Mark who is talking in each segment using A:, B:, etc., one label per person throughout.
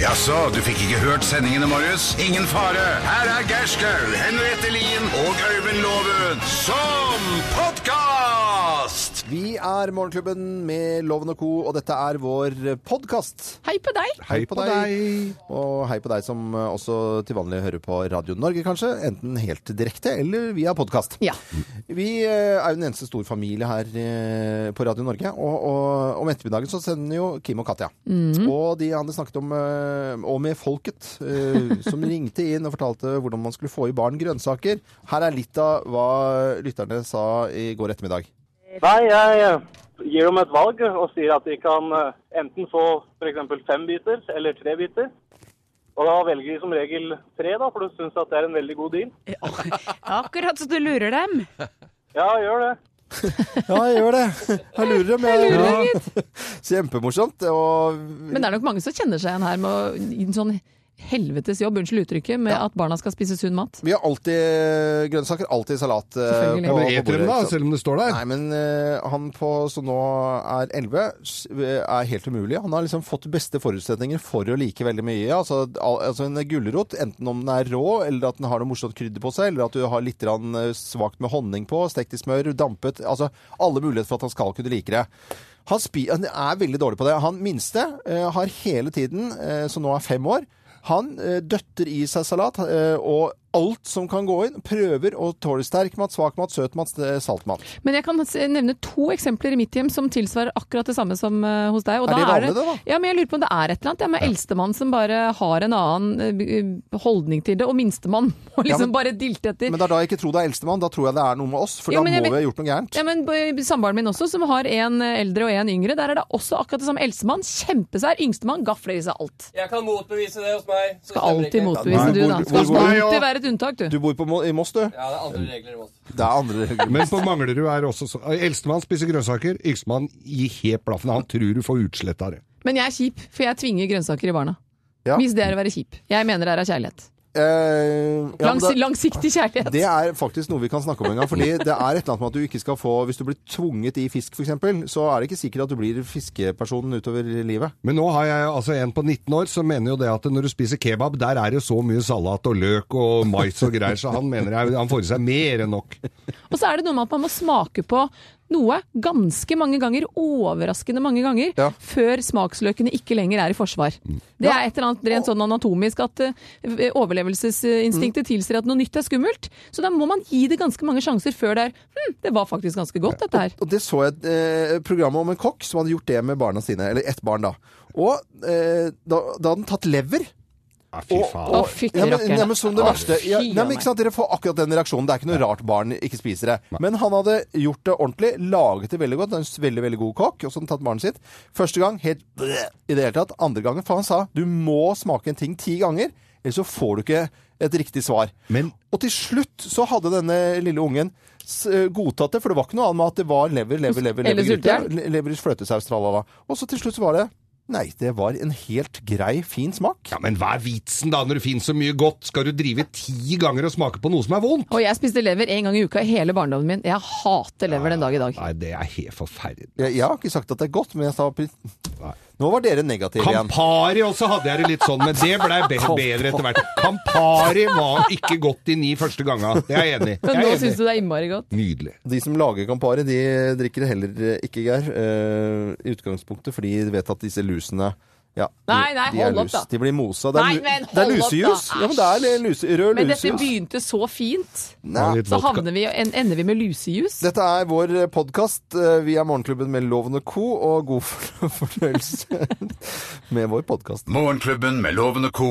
A: Jaså, du fikk ikke hørt sendingene, Marius? Ingen fare. Her er Gerskaug, Henriette Lien og Øyvind Loven som podkast!
B: Vi er Morgenklubben med Loven og Co., og dette er vår podkast.
C: Hei på deg!
B: Hei, på deg. Og hei på deg som også til vanlig hører på Radio Norge, kanskje. Enten helt direkte eller via podkast.
C: Ja.
B: Vi eh, er jo den eneste store familie her eh, på Radio Norge, og, og om ettermiddagen så sender jo Kim og Katja. Og de hadde snakket om, eh, og med folket, eh, som ringte inn og fortalte hvordan man skulle få i barn grønnsaker. Her er litt av hva lytterne sa i går ettermiddag.
D: Nei, jeg eh, gir dem et valg og sier at de kan eh, enten få f.eks. fem biter eller tre biter. Og da velger de som regel tre, da, for de syns at det er en veldig god deal.
C: Akkurat så du lurer dem.
D: Ja, gjør det.
B: Ja, jeg gjør det. Jeg lurer dem. Jeg
C: lurer dem
B: Kjempemorsomt. Og
C: Men det er nok mange som kjenner seg igjen her med å- i en sånn helvetes jobb, unnskyld uttrykket, med at barna skal spise sunn mat.
B: vi har alltid grønnsaker, alltid salat. eh,
C: Selvfølgelig.
B: på-
E: Men
B: på
E: eter dem
B: bordet,
E: da,
B: ikke
E: altså,
B: sant?
E: selv om det står der.
B: Nei, men eh, han på, som nå er 11, s- eh, er helt umulig. Han har liksom fått beste forutsetninger for å like veldig mye. Altså, al- altså en gulrot, enten om den er rå, eller at den har noe morsomt krydder på seg, eller at du har litt grann, eh, svakt med honning på, stekt i smør, dampet Altså alle muligheter for at han skal kunne like det. Han, spi han er veldig dårlig på det. Han minste eh, har hele tiden, eh, som nå er fem år, han eh, døtter i seg salat eh, og alt som kan gå inn. Prøver å tåle sterk mat, svak mat, søt mat, eh, salt mat.
C: Men jeg kan s- nevne to eksempler i mitt hjem som tilsvarer akkurat det samme som eh, hos deg. og
B: Er det vanlig
C: det,
B: det,
C: Ja, men jeg lurer på om det er et eller annet. Det er med eldstemann som bare har en annen eh, b- holdning til det, og minstemann må
B: Ja, men-
C: liksom bare dilte etter.
B: Men det er da jeg ikke tror det er eldstemann. Da tror jeg det er noe med oss, for
C: Ja,
B: da
C: men
B: må
C: jeg
B: vi
C: vet-
B: ha gjort noe gærent.
C: Ja, men b- Samboeren min også, som har en eh, eldre og en yngre. Der er det også akkurat det samme. Eldstemann kjempesær, yngstemann gafler i seg alt.
F: Jeg kan motbevise det hos meg. så
C: Skal
F: stemmer det
C: alltid
F: ikke.
B: Nei,
C: motbevise du,
B: hvor-
C: da.
B: hvor-
C: Skal
E: hvor-
C: alltid være et unntak, du.
B: Du bor på, Mo- i Moss, du?
F: Ja, det er andre regler imot.
B: Det er andre regler.
E: Men på Manglerud er også så Eldstemann spiser grønnsaker, yngstemann gir helt blaffen. Han tror du får utslett av det.
C: Men jeg er kjip, for jeg tvinger grønnsaker i barna.
B: Ja.
C: Hvis det er å være kjip. Jeg mener det er av kjærlighet.
B: Eh, ja, men
C: Langs,
B: da-
C: langsiktig kjærlighet.
B: det er faktisk noe vi kan snakke om en gang. Fordi det er et eller annet med at du ikke skal få Hvis du blir tvunget i fisk, f.eks., så er det ikke sikkert at du blir fiskepersonen utover livet.
E: Men nå har jeg altså en på 19 år som mener jo det at når du spiser kebab, der er det så mye salat og løk og mais og greier, så han mener jeg, han får i seg mer enn nok.
C: Og så er det noe med at man må smake på noe ganske mange ganger, overraskende mange ganger,
B: Ja. Mm.
C: før smaksløkene ikke lenger er i forsvar. Det er et eller annet rent sånn anatomisk at eh, overlevelsesinstinktet
B: Mm.
C: tilsier at noe nytt er skummelt. Så da må man gi det ganske mange sjanser før det er hm, det var faktisk ganske godt dette her.
B: Og det så jeg et eh, program om en kokk som hadde gjort det med barna sine. Eller ett barn, da. Og eh, da, da hadde han tatt lever.
E: Ja, fy faen.
C: Å, fy
B: ja, men,
C: rakkeren.
B: ja, men som det
C: Å,
B: verste ja,
C: fy
B: nei,
C: a
B: men
C: meg.
B: ikke sant, Dere får akkurat den reaksjonen. Det er ikke noe rart barn ikke spiser det. Men han hadde gjort det ordentlig, laget det veldig godt. Det er En veldig veldig god kokk. Og så hadde han tatt barnet sitt. Første gang helt bleh, i det hele tatt. Andre gangen, for han sa du må smake en ting ti ganger, ellers så får du ikke et riktig svar.
E: Men-
B: og til slutt så hadde denne lille ungen s- eh, godtatt det, for det var ikke noe annet med at det var lever, lever, lever,
C: Eller
B: lever, gryte,
C: sultjern.
B: le- lever i fløtesaus, tralala. Og så til slutt så var det Nei, det var en helt grei, fin smak.
E: Ja, men hva er vitsen da, når det finnes så mye godt? Skal du drive ti ganger og smake på noe som er vondt?
C: Og jeg spiste lever en gang i uka i hele barndommen min. Jeg hater lever den dag i dag.
E: Nei, det er helt forferdelig.
B: Jeg, jeg har ikke sagt at det er godt, men jeg sa pri- Nå var dere negative igjen.
E: Campari også hadde jeg det litt sånn, men det blei be bedre etter hvert. Campari var ikke godt de ni første ganga. Det er jeg enig i.
C: Men
E: Jeg
C: nå
E: er enig.
C: syns du det er innmari godt.
E: Nydelig.
B: De som lager Campari, de drikker heller eh, ikke, Geir, eh, i utgangspunktet, fordi de vet at disse lusene ja, de-
C: Nei, nei,
B: de er
C: hold opp
B: lus.
C: da.
B: De blir mosa. Det er,
C: Nei,
B: lu-
C: men
B: det er
C: hold opp da.
B: lusejus. Ja, men det er luse, rød
C: Men dette
B: lusejus.
C: begynte så fint.
B: Nei.
E: Og litt
C: Så
E: vodka.
C: havner vi, en- ender vi med lusejus.
B: Dette er vår podkast. Vi er Morgenklubben med Loven og co., og god for- fornøyelse med vår podkast.
A: Morgenklubben med Loven og co.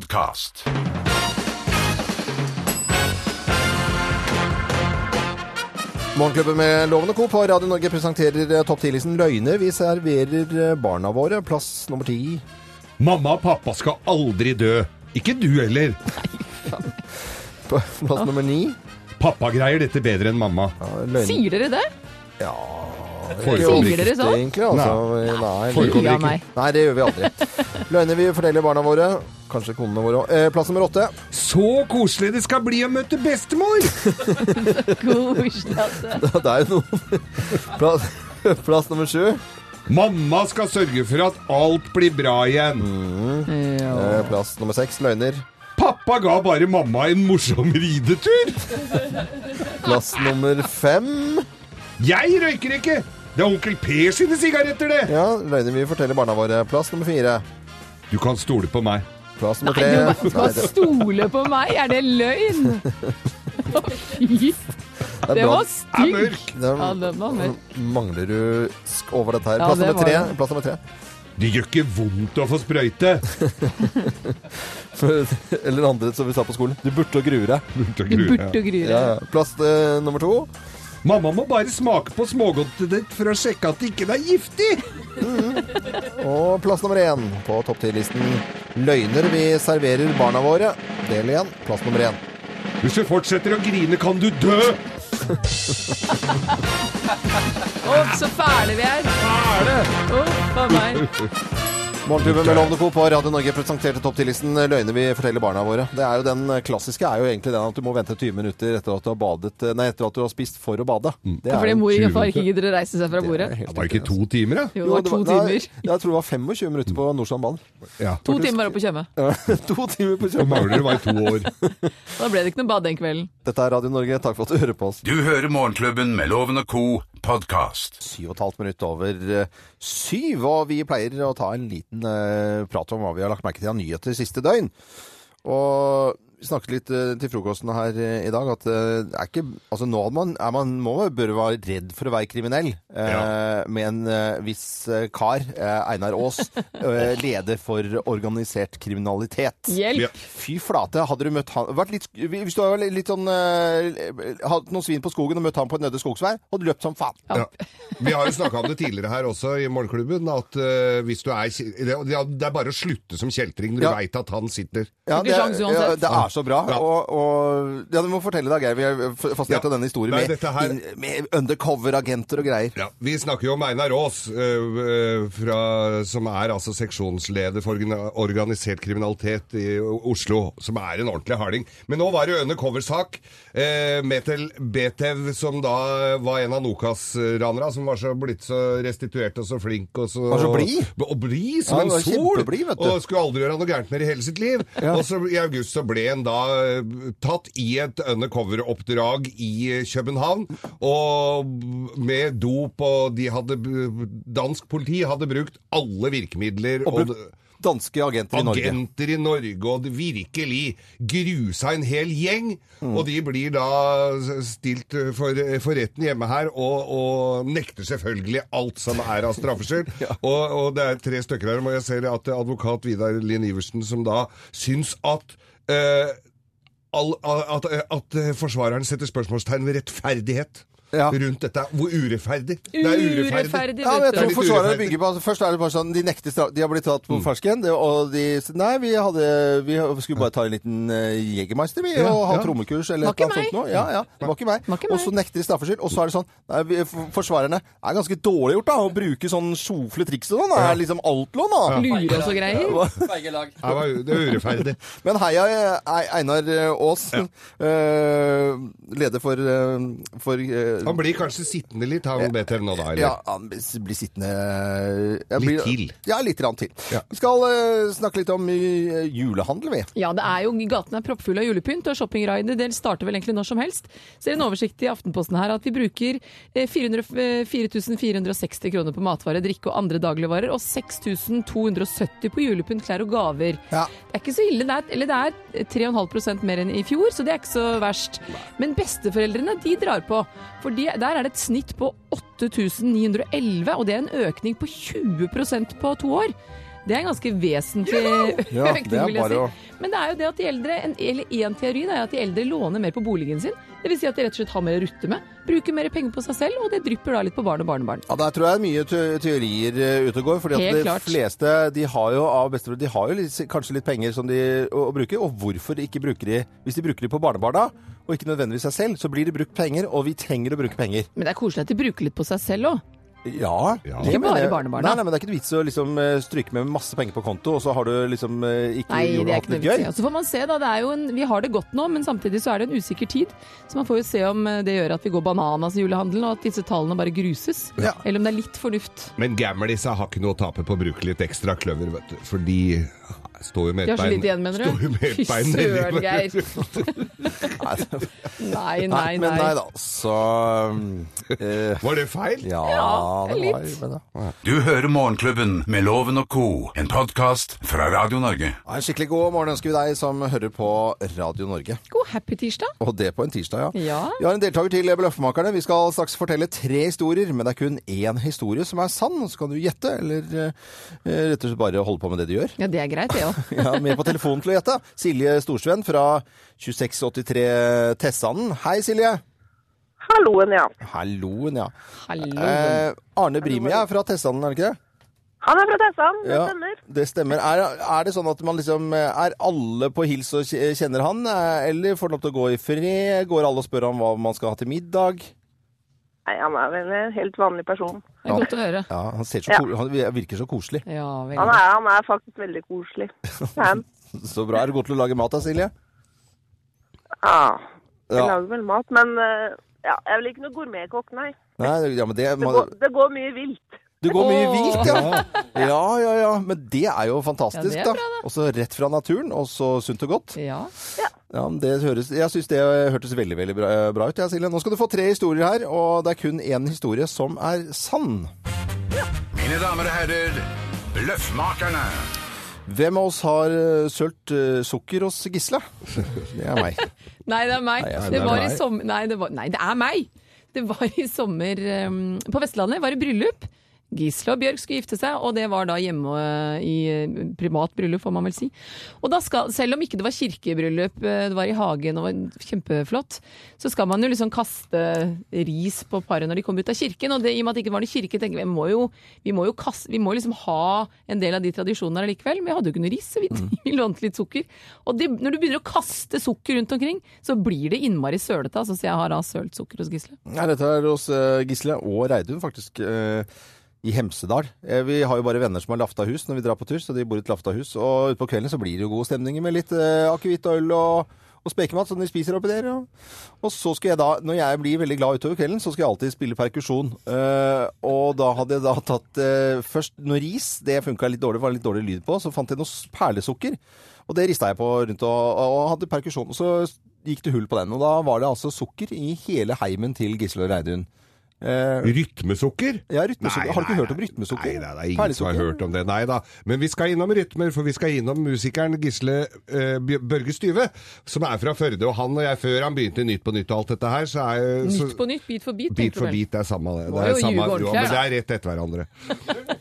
A: podkast.
B: Morgenklubben med Loven og co. på Radio Norge presenterer eh, topp 10-listen Løgner. Vi serverer eh, barna våre plass nummer ti.
E: Mamma og pappa skal aldri dø. Ikke du heller.
B: Plass nummer ni.
E: Pappa greier dette bedre enn mamma.
B: Løgn.
C: Sier dere det?
E: Forekommer
C: Sier
E: ikke.
C: dere sånn?
B: Egentlig, altså. Nei,
E: Forekommer
C: Ja,
E: ikke.
C: meg.
B: Nei, det gjør vi aldri. Løgner vi forteller barna våre. Kanskje konene våre òg. Eh, plass nummer åtte.
E: Så koselig det skal bli å møte bestemor!
C: Koselig, altså.
B: Det er jo noen. Plass, plass nummer sju.
E: Mamma skal sørge for at alt blir bra igjen.
B: Eh, Plass nummer seks, løgner.
E: Pappa ga bare mamma en morsom ridetur.
B: Plass nummer fem.
E: Jeg røyker ikke! Det er onkel Per sine sigaretter, det!
B: Ja, løgner vi forteller barna våre. Plass nummer fire.
E: Du kan stole på meg.
B: Plass nummer
C: Nei,
B: tre.
C: du må-
B: Nei,
C: skal
B: det,
C: stole på meg! Er det løgn? Å, Fy,
B: det
C: det
B: er bra.
C: var
E: Jeg er
C: stygg!
E: mørk!
B: Det
C: Ja, den var mørk.
B: mangler du sk over dette her.
C: Ja,
B: Plass
C: det
B: nummer
C: var
B: tre.
C: det.
B: Plass nummer tre.
E: Det gjør ikke vondt å få sprøyte.
B: Eller andre som vi sa på skolen. Du burde å grue deg.
E: Burde
C: Du
E: grue,
C: burde
E: ja.
B: Ja,
C: grue.
B: ja. Plass eh, nummer to.
E: Mamma må bare smake på smågodtet ditt for å sjekke at det ikke er giftig!
B: Og plass nummer én på topp 10-listen. Løgner vi serverer barna våre. Del igjen. Plass nummer én.
E: Hvis du fortsetter å grine, kan du dø!
C: Å, så fæle vi er! Fæle! Å, meg.
B: Morgentuben med Lovende Co. på Radio Norge presenterte topp 10-listen Løgner vi forteller barna våre. Det er jo Den eh, klassiske er jo egentlig den at du må vente 20 minutter etter at du har, badet, eh, nei, etter at du har spist for å bade. Det
C: Fordi
B: jo-
C: mor og far ikke
E: tjuvete.
C: gidder å reise seg fra bordet.
B: helt
E: Det var ikke to timer, da?
C: Jo, det var to timer.
B: Nei, jeg tror det var 25 minutter på Nordstrandbanen.
E: Ja.
C: To timer opp å kjømme.
B: to timer på
E: Så
B: kjøpet.
E: mangler du bare to år.
C: Da ble det ikke noe bad den kvelden.
B: Dette er Radio Norge, takk for at du hører på oss.
A: Du hører Morgenklubben med Loven og Co. podkast.
B: Syv og et halvt minutt over eh, syv, og vi pleier å ta en liten eh, prat om hva vi har lagt merke til av nyheter siste døgn. Og vi snakket litt eh, til frokosten her eh, i dag at eh, det er ikke Altså nå er man, er man må man bør være redd for å være kriminell eh, med en eh, viss eh, kar, eh, Einar Aas, eh, leder for organisert kriminalitet.
E: Ja.
C: Hjelp!
B: Fy flate, hadde du møtt han vært litt, Hvis du hadde vært litt sånn eh, Hatt noen svin på skogen og møtt han på en øde skogsvei, hadde du løpt som faen.
E: Ja. Vi har jo snakka om det tidligere her også i Morgenklubben, at eh, hvis du er ki- det, det er bare å slutte som kjeltring når du
B: Ja.
E: vet veit at han sitter.
B: Ja,
C: Ikke sjans uansett.
B: ja, det er så bra.
E: Ja.
B: Og, og ja, du må fortelle deg, Geir. Vi er f- fascinert
E: Ja.
B: av denne historien
E: Nei,
B: med,
E: dette her-
B: inn- med undercover-agenter og greier.
E: Ja, Vi snakker jo om Einar Aas, eh, eh, fra, som er altså seksjonsleder for organ- organisert kriminalitet i O- Oslo. Som er en ordentlig harding. Men nå var det jo undercover-sak eh, med til Betev, som da var en av Nokas-ranerne, som var så blitt så restituert og så flink og så
B: Var så blid.
E: Og, og blid som
B: Ja,
E: en
B: var
E: sol!
B: kjempeblid, vet du.
E: Og skulle aldri gjøre noe gærent mer i hele sitt liv. Og så i august så ble han da eh, tatt i et undercover-oppdrag i eh, København, og med dop, og de hadde Dansk politi hadde brukt alle virkemidler.
B: Og brukt danske agenter i Norge.
E: Agenter i Norge, og det virkelig grusa en hel gjeng.
B: Mm.
E: Og de blir da stilt eh, for, for retten hjemme her, og, og nekter selvfølgelig alt som er av straffskyld. og, og det er tre stykker her, og jeg ser at advokat Vidar Lien Iversen som da syns at eh, all, at, eh, at forsvareren setter spørsmålstegn ved rettferdighet
B: Ja.
E: rundt dette. Hvor urettferdig.
C: Urettferdig,
B: Ja, men jeg
E: Det er
B: tror
E: litt
B: forsvaret
E: urettferdig.
B: bygger på altså, Først er det bare sånn De nekter straff De har blitt tatt på
E: Mm.
B: fersken det- Og de sier, Nei, vi hadde Vi skulle bare ta en liten uh, Jegermeister vi Og ha
E: ja.
B: trommekurs Eller
C: Var ikke
B: noe sånt
C: meg.
B: noe Ja, ja Det var ikke meg
C: Var ikke meg.
B: Og så nekter de straffskyld Og så er det sånn Nei, vi, for- forsvarerne er ganske dårlig gjort da Å bruke sånn sjofle triks og sånn Det er liksom altlån da
C: Lure oss og greier.
F: Begge lag.
E: Ja, det var u- det er urettferdig.
B: Men heia eh, Einar Aas, eh, leder for, eh, for eh,
E: Han blir kanskje sittende litt, han BTV nå da? Eller?
B: Ja, han blir sittende eh, jeg
E: Litt
B: blir,
E: til.
B: Ja, litt rann til.
E: Ja.
B: Vi skal eh, snakke litt om eh, julehandel, vi.
C: Ja, det er jo, Gatene er proppfulle av julepynt, og shoppingraidet det starter vel egentlig når som helst. Ser en oversikt i Aftenposten her at vi bruker eh, 400 eh, 4460 kroner på matvarer, drikke og andre dagligvarer, og 6270 på julepynt, klær og gaver.
B: Ja.
C: Det er ikke så ille, det er, eller det er 3,5 mer enn i fjor, så det er ikke så verst. Men besteforeldrene, de drar på. For de, der er det et snitt på 8911, og det er en økning på 20 på to år. Det er en ganske vesentlig
B: Ja, det er
C: økning, vil jeg
B: bare
C: si.
B: å-
C: Men det er jo det at de eldre, en, eller en teori da, er at de eldre låner mer på boligen sin. Dvs. Si at de rett og slett har mer å rutte med, bruker mer penger på seg selv, og det drypper da litt på barn og barnebarn.
B: Ja, Der tror jeg det er mye te teorier eh, ute og går. fordi at
C: Helt
B: de
C: klart.
B: fleste de har jo av besteforeldre de har jo litt, kanskje litt penger som de å, å bruke. Og hvorfor ikke bruker de Hvis de bruker de på barnebarna, og ikke nødvendigvis seg selv, så blir det brukt penger, og vi trenger å bruke penger.
C: Men det er koselig at de bruker litt på seg selv òg.
B: Ja.
E: Ja.
B: det
E: Ikke
B: mener
C: bare
B: jeg.
C: barnebarna.
B: Nei, nei, men det er ikke noe vits å liksom, eh, stryke med masse penger på konto, og så har du liksom eh, ikke
C: Nei,
B: gjort
C: det er
B: hatt
C: ikke noe
B: det
C: vits i.
B: gøy.
C: Og Så får man se, da. Det er jo en, vi har det godt nå, men samtidig så er det en usikker tid. Så man får jo se om eh, det gjør at vi går bananas i julehandelen, og at disse tallene bare gruses.
B: Ja.
C: Eller om det er litt fornuft.
E: Men gamlisa har ikke noe å tape på å bruke litt ekstra kløver, vet du. For de står jo med
C: De
E: ett
C: har så
E: bein
C: lite igjen, mener
E: Står jo
C: du?
E: med ett bein nedi
C: søren,
E: hverandre.
C: Geir.
B: Nei, det-
C: Nei, nei,
B: nei, men nei
C: nei.
B: da. Så eh,
E: Var det feil?
B: ja,
C: Ja,
B: det var
C: litt.
B: men, ja.
A: Du hører Morgenklubben med Loven og Co., en podkast fra Radio Norge.
B: Ja, En skikkelig god morgen ønsker vi deg som hører på Radio Norge.
C: God happy tirsdag.
B: Og det på en tirsdag, ja.
C: Ja.
B: Vi har en deltaker til Bløffmakerne. Vi skal straks fortelle tre historier, men det er kun én historie som er sann. Så kan du gjette, eller eh, rett og slett bare holde på med det du gjør.
C: Ja, det er greit, det òg.
B: Ja, med på telefonen til å gjette. Silje Storsven fra 2683 Tessanden. Hei, Silje.
G: Halloen, ja.
B: Halloen, ja.
C: Hallo.
B: Eh, Arne Brimi er fra Tessanden, er det ikke det?
G: Han er fra Tessan, det
B: Ja,
G: stemmer.
B: Det stemmer. Er, er det sånn at man liksom Er alle på hils og kje- kjenner han, eh, eller får han lov til å gå i fred? Går alle og spør ham hva man skal ha til middag?
G: Nei, han er vel en helt vanlig person.
C: Det er godt å høre.
B: Ja, han, ser så
G: Ja.
B: ko- han virker så koselig.
C: Ja,
G: Han
C: veldig.
G: er, han er faktisk veldig koselig. Men,
B: Så bra. Er du god til å lage mat da, Silje?
G: ah, jeg
B: Ja.
G: lager vel mat, men eh, ja, jeg er vel ikke noe gourmetkokk, nei.
B: Nei, ja, men det,
G: Det
B: man,
G: går, det går mye vilt.
B: du går mye
C: Åh.
B: vilt, ja. ja. Ja, ja, Men det er jo fantastisk,
C: Ja, det er
B: da.
C: bra, da.
B: Og så rett fra naturen, og så sunt og godt.
C: Ja.
B: Ja, men det høres, jeg syns det hørtes veldig veldig bra, bra ut, ja, Silje. Nå skal du få tre historier her, og det er kun én historie som er sann.
A: Mine damer og herrer, Bløffmakerne.
B: Hvem av oss har eh, sølt eh, sukker hos Gisle? Det er meg.
C: Nei, det er meg.
B: Nei, ja,
C: det,
B: det er
C: var
B: meg.
C: i sommer nei det, var, nei, det er meg! Det var i sommer ehm, på Vestlandet. Var i bryllup. Gisle og Bjørg skulle gifte seg, og det var da hjemme eh, i eh, privat bryllup, får man vel si. Og da skal, selv om ikke det var kirkebryllup, eh, det var i hagen og var kjempeflott, så skal man jo liksom kaste ris på paret når de kommer ut av kirken. Og det, i og med at det ikke var noe kirke, tenker vi vi må jo, vi må jo kaste, vi må liksom ha en del av de tradisjonene her likevel. Men vi hadde jo ikke noe ris, så vi,
B: Mm.
C: vi lånte litt sukker. Og det, når du begynner å kaste sukker rundt omkring, så blir det innmari sølete. Altså, så jeg har da sølt sukker hos Gisle.
B: Nei, dette er hos eh, Gisle og Reidun, faktisk. eh, I Hemsedal. Eh, Vi har jo bare venner som har Laftahus når vi drar på tur, så de bor i et Laftahus. Og utpå kvelden så blir det jo god stemning med litt eh, akevitt og øl og, og spekemat som de spiser oppi der. Og, og så skal jeg da, når jeg blir veldig glad utover kvelden, så skal jeg alltid spille perkusjon. Eh, og da hadde jeg da tatt eh, først noe ris, det funka litt dårlig, var litt dårlig lyd på. Så fant jeg noe s- perlesukker, og det rista jeg på rundt og, og hadde perkusjon. Og så gikk det hull på den, og da var det altså sukker i hele heimen til Gisle og Reidun. Eh,
E: Rytmesukker?
B: Ja, rytmesukker.
E: Nei,
B: Har du ikke
E: nei,
B: hørt om rytmesukker?
E: Nei, nei, det er ingen som har
B: Perlesukker?
E: hørt om det. Nei da. Men vi skal innom rytmer, for vi skal innom musikeren Gisle eh, Bj- Børge Styve, som er fra Førde. Og han og jeg, før han begynte i Nytt på Nytt og alt dette her, så er jo så,
C: Nytt på nytt, bit for bit.
E: Bit
C: tenker
E: for
C: du vel.
E: bit, det er samme det.
C: Må
E: Det er,
C: jo
E: samme,
C: ljuge ordentlig
E: jo,
C: her,
E: men det
C: da.
E: er rett etter hverandre.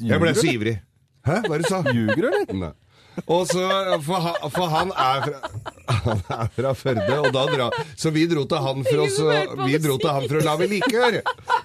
E: Jeg ble så ivrig. Hæ, hva er det du sa?
B: Ljuger, eller?
E: Nei. Og så, for, han, for han er fra han er fra Førde, og da dra, så vi dro til han
C: Ingen
E: for, oss,
C: som hørte hva
E: vi
C: du
E: dro til han for å lage likør.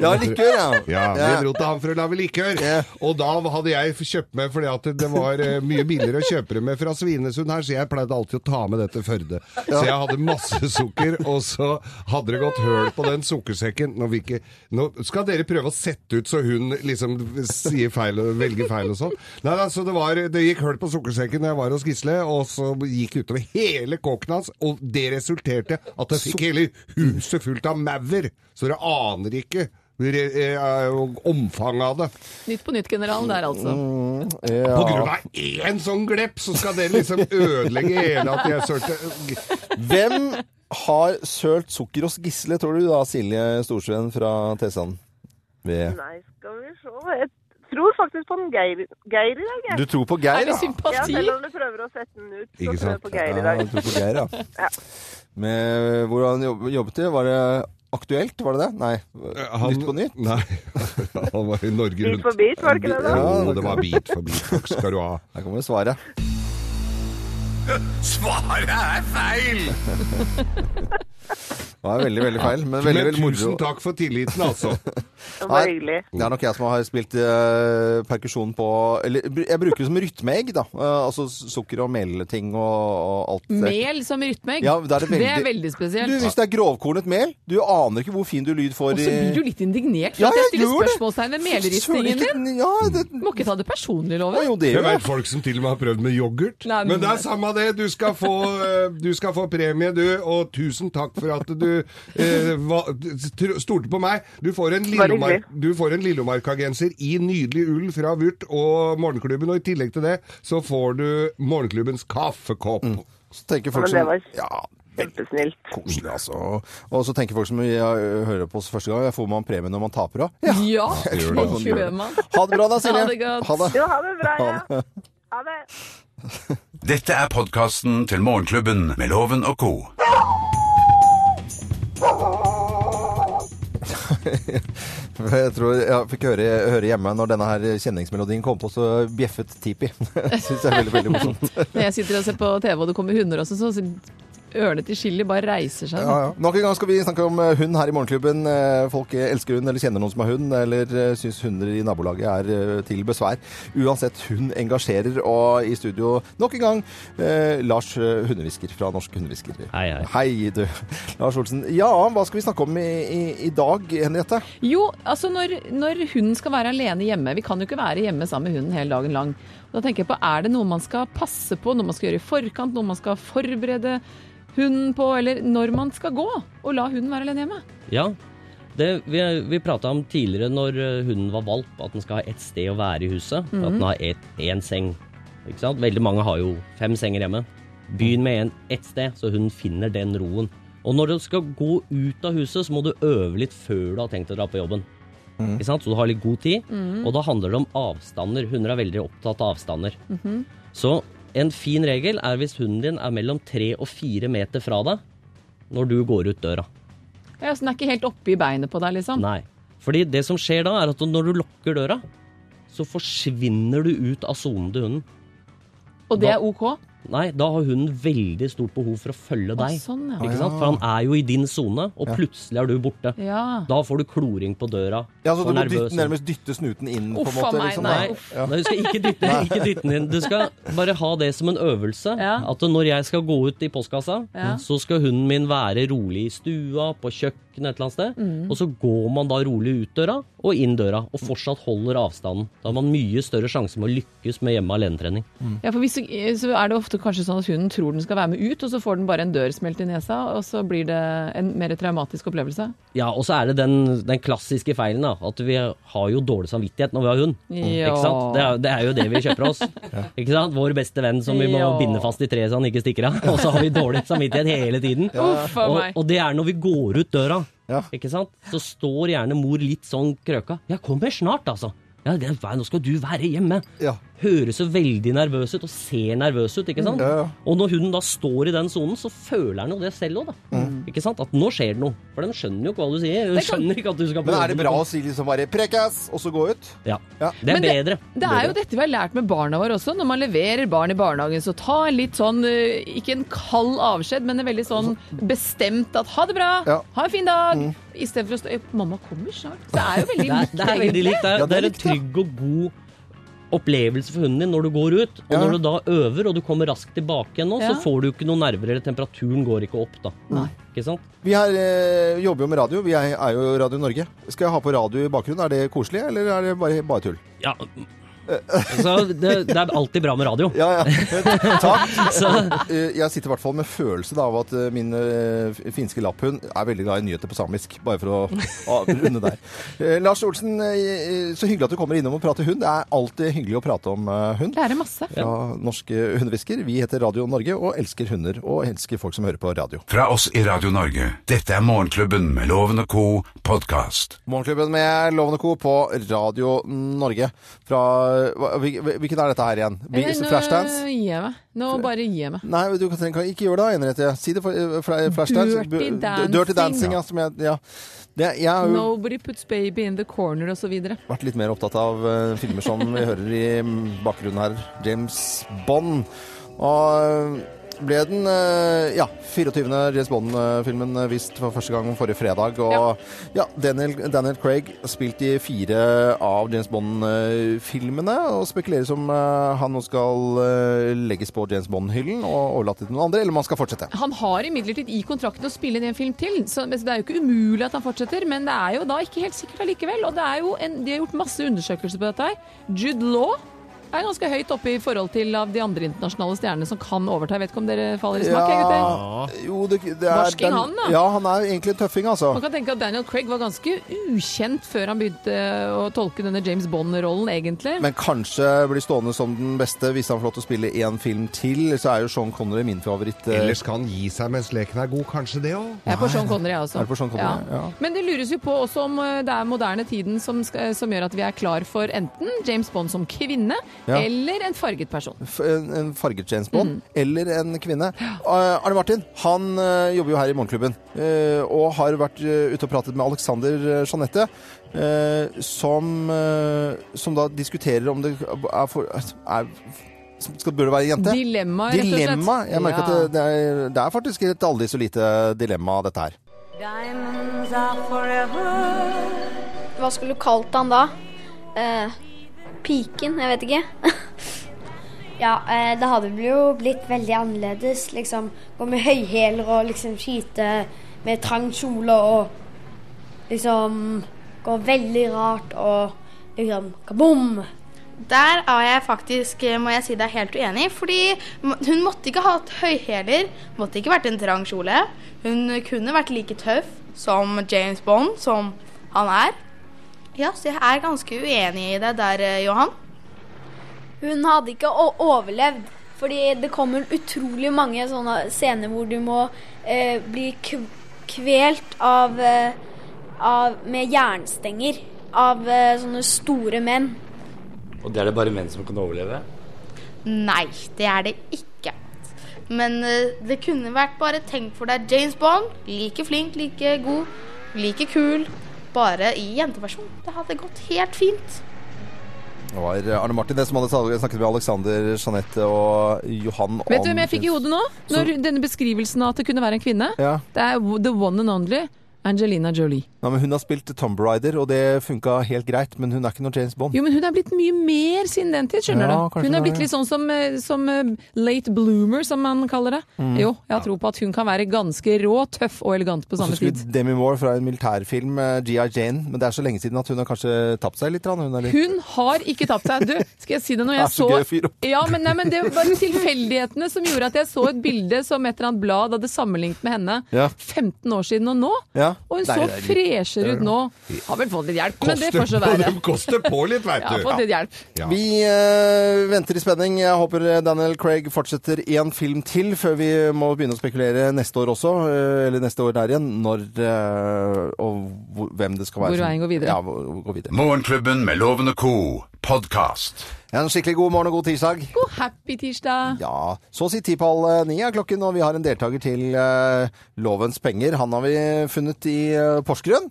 B: Ja, likør, ja.
E: Ja, vi dro til han for å lage likør.
B: Ja.
E: Og da hadde jeg kjøpt med, fordi at det var eh, mye billigere å kjøpe det med fra Svinesund her, så jeg pleide alltid å ta med det til Førde. Så jeg hadde masse sukker, og så hadde det gått høl på den sukkersekken. Nå, vil ikke, nå skal dere prøve å sette ut så hun liksom sier feil og velger feil og sånn. Nei, da, så det, var, det gikk høl på sukkersekken da jeg var hos Gisle, og så gikk det utover hele kåken hans, og det resulterte at jeg fikk hele huset fullt av maur, så dere aner ikke. re- eh, Omfanget av det.
C: Nytt på nytt-generalen der, altså.
B: Mm.
E: På grunn av én sånn glepp, så skal dere liksom ødelegge hele at jeg sølte
B: Hvem har sølt sukker hos Gisle, tror du da, Silje Storsveen fra Tessand? Ved-
G: Nei, skal vi se. Jeg tror faktisk på den Geir, Geir i dag, jeg.
B: Du tror på Geir,
C: Er det
G: Ja,
C: sympati?
G: selv om du prøver å sette den ut, så
E: Ikke
G: tror
E: sant?
G: jeg på Geir i
B: Ja,
G: dag.
B: du tror på Geir, ja. Med, hvor han jobb- jobbet i? Var det aktuelt, var det det? Nei. Nytt på nytt?
E: eh, Nei, han var i Norge
G: Bit
E: rundt.
G: for bit, var det ikke det da?
B: Ja.
E: Å, det var bit for bit, takk skal du ha.
B: Her kommer svaret.
A: Svaret er feil!
B: Det var veldig, veldig feil, men veldig,
E: Men
B: veldig
E: tusen
B: moro.
E: takk for tilliten, altså.
G: Det var
B: Nei,
G: hyggelig.
B: det er nok jeg som har spilt eh, perkusjon på Eller br- jeg bruker det som rytmeegg, da. Eh, altså s- sukker og melting og, og alt det.
C: Mel som rytmeegg,
B: Ja, det er det veldig-
C: veldig
B: Du,
C: spesielt.
B: hvis det er grovkornet mel, du aner ikke hvor fin du lyd får
C: Og så blir du litt indignert for
B: Ja,
C: at jeg
B: jeg
C: stiller
B: gjør det.
C: spørsmålstegn ved melristingen din.
B: Ja, det
C: Du må ikke ta det
B: Ja,
C: personlig, Loven.
B: jo, det
E: Jeg
B: gjør jeg.
E: veit folk som til og med har prøvd med yoghurt.
C: Nei, men-
E: men det er samme det. Du skal få, eh, du skal få premie, du. Og tusen takk for at du eh, va- tro- stolte på meg. Du får
G: Bare
E: en
G: hyggelig.
E: Lillomark- du får en Lillomarka-genser i nydelig ull fra Vurt og Morgenklubben. Og i tillegg til det så får du Morgenklubbens kaffekopp.
G: Mm.
B: Så tenker
G: Ja,
B: folk
G: men det
B: som
G: var
B: Ja,
G: kjempesnilt.
B: koselig, altså. Og så tenker folk som ja, hører på oss første gang, får man premie når man taper òg? Ja.
C: Ja,
E: gjør
C: det sånn
E: det.
C: gjør man.
B: Ha sånn det bra da, Silje.
C: Ha det godt.
B: Ha det.
G: Jo, ha det bra. Ja. Ha det.
A: Dette er podkasten til Morgenklubben med Loven og co.
B: Jeg tror jeg fikk høre, høre hjemme når denne her kjenningsmelodien kom på, så bjeffet Tipi. Det syns jeg er veldig veldig morsomt.
C: Når jeg sitter og ser på TV og det kommer hunder også, så ørene til Chili bare reiser seg.
B: Ja, ja. Nok en gang skal vi snakke om eh, hund her i Morgenklubben. Eh, Folk elsker hund, eller kjenner noen som har hund, eller eh, syns hunder i nabolaget er eh, til besvær. Uansett, hun engasjerer, og i studio nok en gang eh, Lars eh, Hundehvisker fra Norske Hundehviskere.
H: Hei, hei.
B: Hei, du. Lars Olsen. Ja, hva skal vi snakke om i, i, i dag, Henriette?
C: Jo, altså når, når hunden skal være alene hjemme Vi kan jo ikke være hjemme sammen med hunden hele dagen lang. Og da tenker jeg på, Er det noe man skal passe på, noe man skal gjøre i forkant, noe man skal forberede hunden på, eller når man skal gå og la hunden være alene hjemme?
H: Ja, det, vi, vi prata om tidligere når eh, hunden var valp, at den skal ha ett sted å være i huset. At den har et- én seng. Ikke sant? Veldig mange har jo fem senger hjemme. Begynn med en, ett sted, så hunden finner den roen. Og når du skal gå ut av huset, så må du øve litt før du har tenkt å dra på jobben. Ikke sant? Så du har litt god tid. Og da handler det om avstander. Hunder er veldig opptatt av avstander. Så en fin regel er hvis hunden din er mellom tre og fire meter fra deg når du går ut døra.
C: Ja, så Den er ikke helt oppe i beinet på deg, liksom.
H: Nei. Fordi det som skjer da, er at når du lukker døra, så forsvinner du ut av sonen til hunden.
C: Og det er OK?
H: Nei, da har hunden veldig stort behov for å følge
C: Å,
H: deg.
C: sånn, ja.
H: Ikke sant? For han er jo i din sone, og plutselig er du borte.
C: Ja.
H: Da får du kloring på døra.
B: Ja, så
H: for
B: du må
H: nervøs
B: dytte, nærmest dytte snuten inn, på en
C: Uff a
B: måte?
C: meg,
B: liksom,
H: Nei,
B: da.
H: nei, du skal ikke dytte, ikke dytte den inn. Du skal bare ha det som en øvelse.
C: Ja.
H: At når jeg skal gå ut i postkassa,
C: Ja.
H: så skal hunden min være rolig i stua, på kjøkkenet et eller annet sted.
C: Mm.
H: Og så går man da rolig ut døra og inn døra, og fortsatt holder avstanden. Da har man mye større sjanse med å lykkes med hjemme alene-trening.
C: Ja, for hvis, eh, så er det ofte kanskje sånn at hunden tror den skal være med ut, og så får den bare en dør smelt i nesa, og så blir det en mer traumatisk opplevelse.
H: Ja, og så er det den, den klassiske feilen, da. At vi har jo dårlig samvittighet når vi har hund.
C: Ja.
H: Mm, Ikke sant? Det, er, det er jo det vi kjøper oss. Ikke sant? Vår beste venn som vi må
C: Ja.
H: binde fast i treet så han ikke stikker av. Og så har vi dårlig samvittighet hele tiden.
C: Uff a
H: Og,
C: meg.
H: og det er når vi går ut døra,
B: Ja.
H: ikke sant? så står gjerne mor litt sånn krøka. 'Jeg kommer snart, altså'. Ja, det, er- 'Nå skal du være hjemme'.
B: Ja.
H: Høres så veldig nervøs ut, og ser nervøs ut. ikke sant?
B: Ja, ja.
H: Og når hunden da står i den sonen, så føler han jo det selv òg, da.
B: Mm.
H: Ikke sant? At nå skjer det noe. For den skjønner jo ikke hva du sier. Den skjønner ikke at du skal på
B: Men er det
H: jobben.
B: bra å si liksom bare 'prekkas', og så gå ut?
H: Ja.
B: Ja.
H: Det er
C: Men det-
H: bedre.
C: Det er jo dette vi har lært med barna våre også. Når man leverer barn i barnehagen, så ta en litt sånn eh, Ikke en kald avskjed, men en veldig sånn bestemt at ha det bra,
B: Ja.
C: ha en fin dag. I stedet for å stå Mamma kommer snart. Det er jo veldig
H: Det er,
C: likt.
H: det er veldig
C: egentlig.
H: likt. Det er,
B: Ja, det
H: det er
B: er
H: en
B: likt, ja.
H: trygg og god opplevelse for hunden din når du går ut. Og
B: Ja.
H: når du da øver, og du kommer raskt tilbake igjen nå,
C: Ja.
H: så får du ikke noen nerver, eller temperaturen går ikke opp, da. Ikke sant?
B: Vi her, eh, jobber jo med radio. Vi er, er jo Radio Norge. Skal jeg ha på radio i bakgrunnen? Er det koselig, eller er det bare, bare tull?
H: Ja. Så det, det er alltid bra med radio.
B: Ja, ja. Takk.
H: Så,
B: Eh, Jeg sitter i hvert fall med følelse da, av at eh, min eh, f- finske lapphund er veldig glad i nyheter på samisk. Bare for å ah, runde der. Eh, Lars Olsen, eh, eh, så hyggelig at du kommer innom og prater hund. Det er alltid hyggelig å prate om eh, hund.
C: Lærer masse.
B: Fra Norske Hundehvisker. Vi heter Radio Norge og elsker hunder. Og elsker folk som hører på radio.
A: Fra oss i Radio Norge. Dette er Morgenklubben med Loven og co. podkast.
B: Morgenklubben med Lovende Co. på Radio Norge. Fra hva- hvil- Hvilken er dette her igjen? Bi-
C: Nå
B: Flashdance?
C: gir jeg meg. Nå bare gir jeg meg.
B: Nei, du kan, kan ikke gjøre det, Henriette. Si det for eh, fla- flashdance.
C: Dirty
B: Bu-
C: dancing.
B: Dirty dancing, ja. Som jeg, ja. Det, jeg har jo
C: Nobody puts baby in the corner, og så videre.
B: vært litt mer opptatt av eh, filmer som vi hører i mm, bakgrunnen her. James Bond. Og eh, ble den eh, ja, 24. James Bond-filmen eh, vist for første gang forrige fredag. Og ja, Daniel, Daniel Craig spilt i fire av James Bond-filmene. Og spekuleres om eh, han nå skal eh, legges på James Bond-hyllen og overlate til noen andre, eller om han skal fortsette.
C: Han har imidlertid i kontrakten å spille inn en film til, så det er jo ikke umulig at han fortsetter, men det er jo da ikke helt sikkert allikevel. Og det er jo en, de har gjort masse undersøkelser på dette her. Jude Law er ganske høyt oppe i forhold til av de andre internasjonale stjernene som kan overta. Jeg vet ikke om dere faller i smak, jeg, gutter.
B: jo, det, det er
C: Barsking han, da.
B: Ja, han er jo egentlig en tøffing, altså.
C: Man kan tenke at Daniel Craig var ganske ukjent før han begynte å tolke denne James Bond-rollen, egentlig.
B: Men kanskje blir stående som den beste hvis han får lov til å spille én film til. Så er jo Sean Connery min favoritt. eh,
E: Ellers kan han gi seg mens leken er god, kanskje det òg.
C: Jeg er på Sean Connery, jeg også.
B: Er du på Sean Connery? Ja.
C: Men det lures jo på også om eh, det er moderne tiden som, skal, som gjør at vi er klar for enten James Bond som kvinne,
B: Ja.
C: eller en farget person.
B: f- en, en farget James Bond,
C: Mm.
B: eller en kvinne. Eh, Arne Martin han eh, jobber jo her i Morgenklubben, eh, og har vært eh, ute og pratet med Alexander eh, Jeanette, eh, som, eh, som da diskuterer om det er, for, er som skal, Bør det være en jente?
C: Dilemma, rett og slett.
B: Dilemma. Jeg merker
C: Ja.
B: at det, det, er, det er faktisk et aldri så lite dilemma, dette her.
I: Hva skulle du kalt han da? Eh, piken, jeg vet ikke. ja, eh, det hadde vel jo blitt veldig annerledes. Liksom gå med høyhæler og liksom skyte med trang kjole og liksom gå veldig rart og liksom kaboom! Der er jeg faktisk, må jeg si deg, helt uenig. Fordi hun måtte ikke ha hatt høyhæler, måtte ikke vært en trang kjole. Hun kunne vært like tøff som James Bond, som han er. Ja, så jeg er ganske uenig i deg der, eh, Johan. Hun hadde ikke o- overlevd. Fordi det kommer utrolig mange sånne scener hvor du må eh, bli kv- kvelt av, eh, av med jernstenger av eh, sånne store menn.
F: Og det er det bare menn som kan overleve?
I: Nei, det er det ikke. Men eh, det kunne vært bare tenk for deg James Bond. Like flink, like god, like kul. Bare i jenteversjon. Det hadde gått helt fint.
B: Det var Arne Martin det som hadde snakket med Alexander Jeanette og Johan om
C: Vet du hvem jeg fikk i hodet nå? Når denne beskrivelsen av at det kunne være en kvinne.
B: Ja.
C: Det er the one and only Angelina Jolie.
B: Nei, men hun har spilt Tomb Raider, og det funka helt greit, men hun er ikke noe James Bond.
C: Jo, men hun er blitt mye mer siden den tid, skjønner
B: Ja,
C: du.
B: kanskje
C: Hun
B: det,
C: er blitt
B: ja.
C: litt sånn som, eh, som eh, late bloomer, som man kaller det.
B: Mm.
C: Jo, jeg har tro på at hun kan være ganske rå, tøff og elegant på
B: Så
C: samme tid.
B: skulle Demi Moore fra en militærfilm, eh, G.I. Jane, men det er så lenge siden at hun har kanskje tapt seg litt. grann. Hun er litt
C: Hun har ikke tapt seg. Du, skal jeg si det når jeg
B: Det er
C: så
B: så gøy fyr.
C: Ja, men, nei, men det var tilfeldighetene som gjorde at jeg så et bilde som et eller annet blad hadde sammenlignet med henne
B: Ja.
C: 15 år siden og nå.
B: Ja.
C: Og hun
B: Nei,
C: så
B: det er-
C: freshere ut nå. Har vel fått litt hjelp, men det får så være.
E: de koster på litt, veit
C: Ja,
E: du.
C: fått litt hjelp.
E: Ja.
B: Vi eh, venter i spenning. Jeg håper eh, Daniel Craig fortsetter én film til før vi må begynne å spekulere neste år også, eh, eller neste år der igjen, når eh, og hvor, hvem det skal være.
C: Hvor
B: som-
C: veien går videre.
B: Ja, hvor, hvor går videre.
A: Morgenklubben med Loven og co. podkast.
B: En skikkelig god morgen og god tirsdag.
C: God happy tirsdag.
B: Ja, så å si ti på halv eh, ni er klokken, og vi har en deltaker til eh, Lovens penger. Han har vi funnet i eh, Porsgrunn.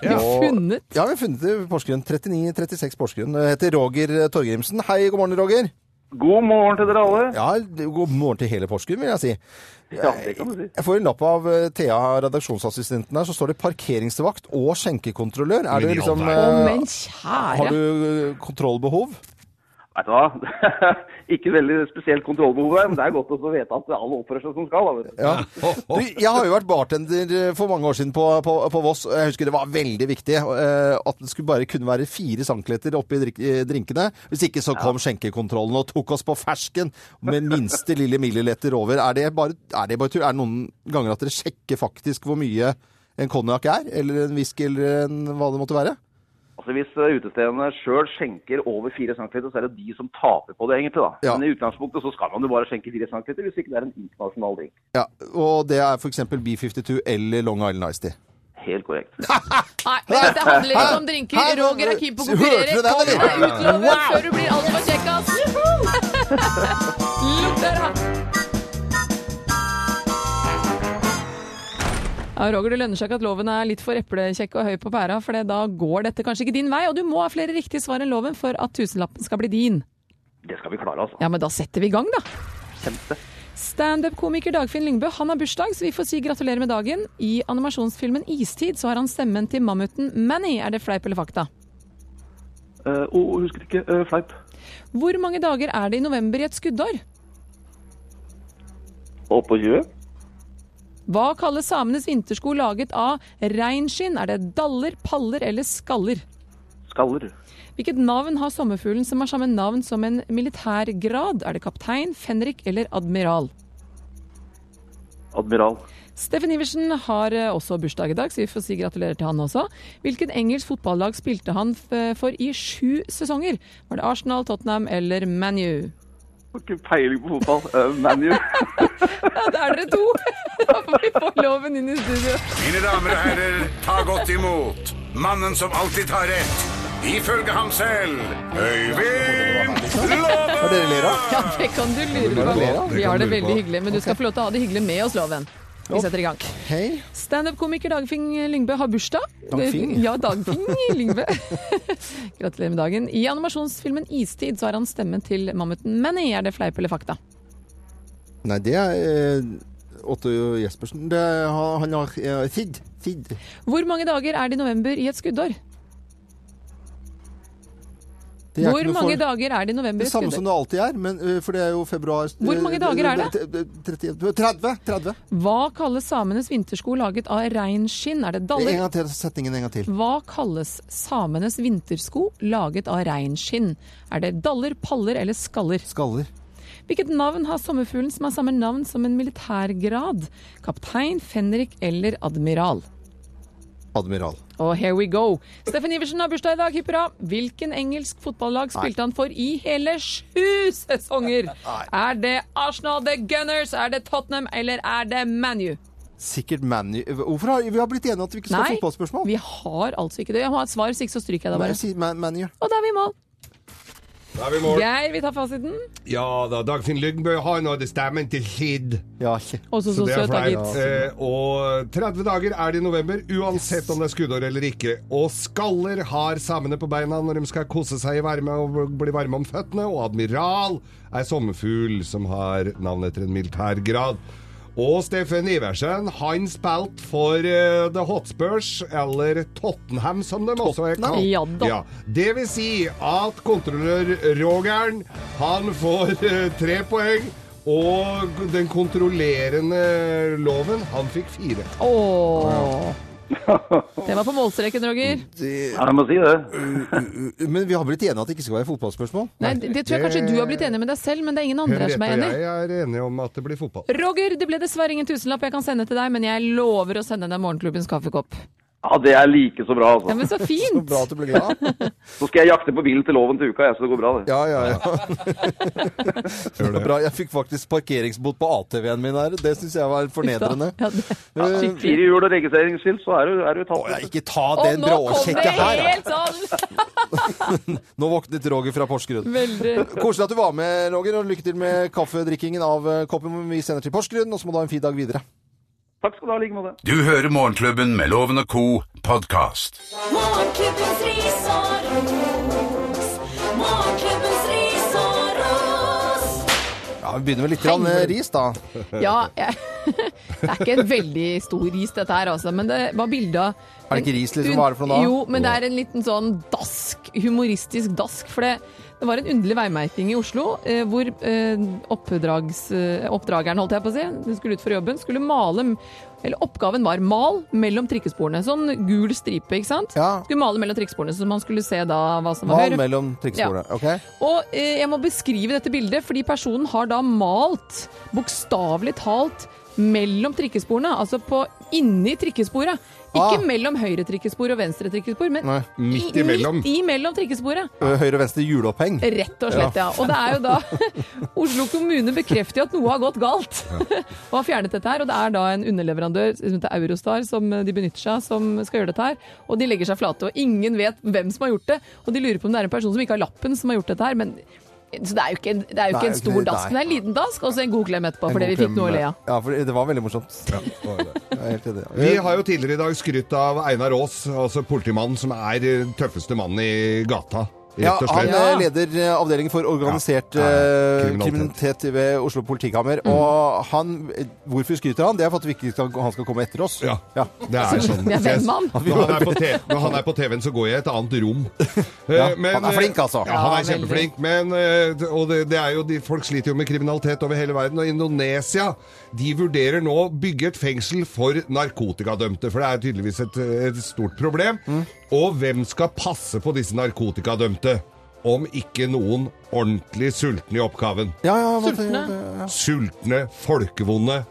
E: Ja.
B: Og-
C: Funnet.
B: Ja, vi har funnet det i Porsgrunn. 39-36 Porsgrunn. Det heter Roger Torgrimsen. Hei, god morgen, Roger.
D: God morgen til dere alle.
B: Ja, god morgen til hele Porsgrunn, vil jeg si.
D: Ja, det kan du si.
B: Jeg får en lapp av eh, Thea, redaksjonsassistenten her, så står det parkeringsvakt og skjenkekontrollør. Er
E: Men
B: du
E: i all
B: liksom
C: Å,
E: verden.
B: eh,
C: men
B: Har
C: kjære.
B: du eh, kontrollbehov?
D: Vet du hva? Ikke veldig spesielt kontrollbehov her, men det er godt å vite at alle oppfører seg som skal. Da. vet du.
B: Ja. Du, jeg har jo vært bartender eh, for mange år siden på, på, på Voss. og Jeg husker det var veldig viktig eh, at det skulle bare kunne være fire centimeter oppi drink, eh, drinkene. Hvis ikke så kom skjenkekontrollen og tok oss på fersken med minste lille milliliter over. Er det bare, er det bare tull? Er det noen ganger at dere sjekker faktisk hvor mye en konjakk er? Eller en whisky, eller en, hva det måtte være?
D: Altså, hvis eh, utestedene sjøl skjenker over 4 cm, så er det de som taper på det, egentlig. da.
B: Ja.
D: Men i utgangspunktet så skal man jo bare skjenke 4 cm, hvis ikke det er en internasjonal drink.
B: Ja, og det er f.eks. B52 eller Long Island Ice Tea.
D: Helt korrekt.
C: Nei, men det handler ikke om drinker.
B: Hæ?
C: Roger er keen på å
B: Hørte
C: konkurrere.
B: du den,
C: Kom deg
B: eller?
C: ut, Loven, før du blir altfor kjekkas. Lukk døra! Ja, Roger, Det lønner seg ikke at loven er litt for eplekjekk og høy på pæra, for det- da går dette kanskje ikke din vei. Og du må ha flere riktige svar enn loven for at tusenlappen skal bli din.
D: Det skal vi klare, altså.
C: Ja, men da setter vi i gang, da. Standup-komiker Dagfinn Lyngbø han har bursdag, så vi får si gratulerer med dagen. I animasjonsfilmen 'Istid' så har han stemmen til mammuten Manny. Er det fleip eller fakta?
J: Uh, oh, husker ikke. Eh, fleip.
C: Hvor mange dager er det i november i et skuddår?
J: Og på 20?
C: Hva kalles samenes vintersko laget av reinskinn? Er det daller, paller eller skaller?
J: Skaller.
C: Hvilket navn har sommerfuglen som har samme navn som en militærgrad? Er det kaptein, fenrik eller admiral?
J: Admiral.
C: Steffen Iversen har eh, også bursdag i dag, så vi får si gratulerer til han også. Hvilket engelsk fotballag spilte han f- eh, for i sju sesonger? Var det Arsenal, Tottenham eller ManU?
J: Har Ikke peiling på fotball. Uh, ManU.
C: Ja, da er dere to! Da får vi få loven inn i studio.
A: Mine damer og herrer, ta godt imot mannen som alltid tar rett. Ifølge ham selv Øyvind
B: Hva er det
A: Låve!
B: dere ler av?
C: Ja, det kan du lure
B: bare
C: på.
B: lov,
E: det
C: Vi
E: kan
C: har det
E: du lure
C: veldig
E: på.
C: hyggelig, men du skal få lov til å ha det hyggelig med oss, Loven. Vi setter i gang.
B: Hei.
C: Standup-komiker Dagfinn Lyngbø har bursdag.
B: Dagfinn?
C: Ja, Dagfinn Lyngbø. Gratulerer med dagen. I animasjonsfilmen 'Istid' så har han stemmen til mammuten Manny. Er det fleip eller fakta?
B: Nei, det er eh, Otto Jespersen. Det, er- han har eh, Sid. Sid.
C: Hvor mange dager er det i november i et skuddår?
B: Det er
C: Hvor
B: ikke noe
C: mange
B: for-
C: dager er det i november i
B: Det
C: et
B: samme som
C: skuddår?
B: det alltid er, men, eh, for det er jo februar eh,
C: Hvor mange dager er det?
B: 30, 30. 30.
C: Hva kalles samenes vintersko laget av reinskinn? Er det
B: En
C: daller?
B: gang til, setningen en gang til.
C: Hva kalles samenes vintersko laget av reinskinn? Er det daller, paller eller skaller?
B: Skaller.
C: Hvilket navn har sommerfuglen som har samme navn som en militærgrad? Kaptein, fenrik eller admiral?
B: Admiral.
C: Og here we go. Steffen Iversen har bursdag i dag, hipp hurra. Hvilken engelsk fotballag spilte han for i hele sju sesonger? Er det Arsenal, The Gunners, er det Tottenham eller er det ManU?
B: Sikkert ManU Hvorfor har vi har blitt enige om at vi ikke skal ha
C: Nei,
B: fotballspørsmål?
C: vi har altså ikke det. Jeg må ha et svar, hvis ikke så stryker jeg
B: Nei,
C: det bare.
B: jeg sier Man- ManU.
C: Og da er vi i mål.
E: Da er vi i mål.
C: Geir, vi tar fasiten.
E: Ja da, Dagfinn Lyngbø har nådd stemmen til Sid.
B: Ja, ikke.
C: Og så så
E: det er
C: søt, da,
E: flaut.
C: gitt.
E: Eh, og 30 dager er det i november, uansett om det er skuddår eller ikke. Og skaller har samene på beina når de skal kose seg i varme og bli varme om føttene. Og admiral er sommerfugl som har navn etter en militærgrad. Og Steffen Iversen, han spilte for eh, The Hotspurs, eller Tottenham som de også er kalt.
C: Ja da.
E: Det vil si at kontrollør Rogern, han får eh, tre poeng. Og den kontrollerende loven, han fikk fire.
C: Åh. Det var på målstreken, Roger.
J: Ja, jeg må si det.
B: Men vi har blitt enige om at det ikke skal være fotballspørsmål?
C: Nei, det det tror jeg kanskje
E: det-
C: du har blitt enig med deg selv, men det er ingen andre her
E: Henriette
C: som er
E: og
C: enig.
E: jeg er enige om at det blir fotball.
C: Roger, det ble dessverre ingen tusenlapp jeg kan sende til deg, men jeg lover å sende deg morgenklubbens kaffekopp.
J: Ja, Det er like så bra,
C: Ja,
J: altså.
C: men så fint!
B: Så bra at du ble glad.
J: Så skal jeg jakte på bilen til loven til uka, jeg, så det går bra, det.
B: Ja, ja, ja.
E: Gjør det.
B: Bra. Jeg fikk faktisk parkeringsbot på ATV-en min her. Det syns jeg var fornedrende.
C: Ja, det-
B: Eh,
J: Fire hjul og registreringsskilt, så er du, er du tatt.
B: Å, jeg, ikke ta
C: Og
B: den
C: nå kom det
B: bråsjekket her!
C: helt sånn!
B: Nå våknet Roger fra Porsgrunn.
C: Veldig.
B: Koselig at du var med, Roger, og lykke til med kaffedrikkingen av eh, koppen vi sender til Porsgrunn. Og så må du ha en fin dag videre.
J: Takk skal du ha, i like måte.
A: Du hører Morgenklubben med Loven og co. podkast.
K: Morgenklubbens ris og ros. Morgenklubbens ris og ros.
B: Ja, Vi begynner med litt grann, eh, ris, da.
C: Ja, jeg, det er ikke en veldig stor ris dette her, altså, men det var bilde av
B: Er det ikke ris, liksom? Hva er det for noe da?
C: Jo, men det er en liten sånn dask, humoristisk dask, for det det var en underlig veimerking i Oslo, eh, hvor eh, oppdrags, eh, oppdrageren holdt jeg på å si, den skulle ut for jobben, skulle male, eller oppgaven var mal mellom trikkesporene. Sånn gul stripe, ikke sant?
B: Ja.
C: Skulle male mellom trikkesporene, så man skulle se da hva som var
B: Mal
C: høyre.
B: mellom trikksporene. Ok?
C: Og eh, jeg må beskrive dette bildet, fordi personen har da malt, bokstavelig talt, mellom trikkesporene. Altså på inni trikkesporet. Ikke
B: Ah.
C: mellom høyre trikkespor og venstre trikkespor, men
B: Nei,
E: midt
C: i-
E: imellom.
C: midt imellom trikkesporet.
B: Ø, Høyre, venstre, juleoppheng.
C: Rett og slett, ja. Og det er jo da Oslo kommune bekrefter jo at noe har gått galt. og har fjernet dette her. Og det er da en underleverandør som heter Eurostar som eh, de benytter seg av, som skal gjøre dette her. Og de legger seg flate, og ingen vet hvem som har gjort det. Og de lurer på om det er en person som ikke har lappen som har gjort dette her. men... Så det er jo ikke en, det er jo ikke
B: Nei,
C: en stor
B: nei.
C: dask, men det er en liten dask, og så en god klem etterpå, fordi vi
E: god
C: fikk
E: klem,
C: noe å le av.
B: Ja, for det var veldig morsomt. Jeg er helt enig.
E: Vi har jo tidligere i dag skrytt av Einar Aas, altså politimannen som er eh, tøffeste mannen i gata.
B: Ja,
E: Rett og
B: han
E: slett.
B: eh, leder eh, avdelingen for organisert eh, kriminalitet ved Oslo politikammer.
E: Mm.
B: Og han, eh, hvorfor skryter han? Det er for at vi ikke skal, han skal komme etter oss. Ja,
E: Det er sånn. Når han er på T- når han er på TV-en, så går jeg i et annet rom.
B: Ja,
E: Eh, men,
B: han er
E: eh,
B: flink, altså. Ja,
E: Ja, han er
B: veldig.
E: kjempeflink. Men, eh, og det, det er jo de, folk sliter jo med kriminalitet over hele verden. Og Indonesia de vurderer nå å bygge et fengsel for narkotikadømte. For det er tydeligvis et, et stort problem.
B: Mm.
E: Og hvem skal passe på disse narkotikadømte? Om ikke noen ordentlig sultne i oppgaven.
B: Sultne. Ja.
E: Sultne, folkevonde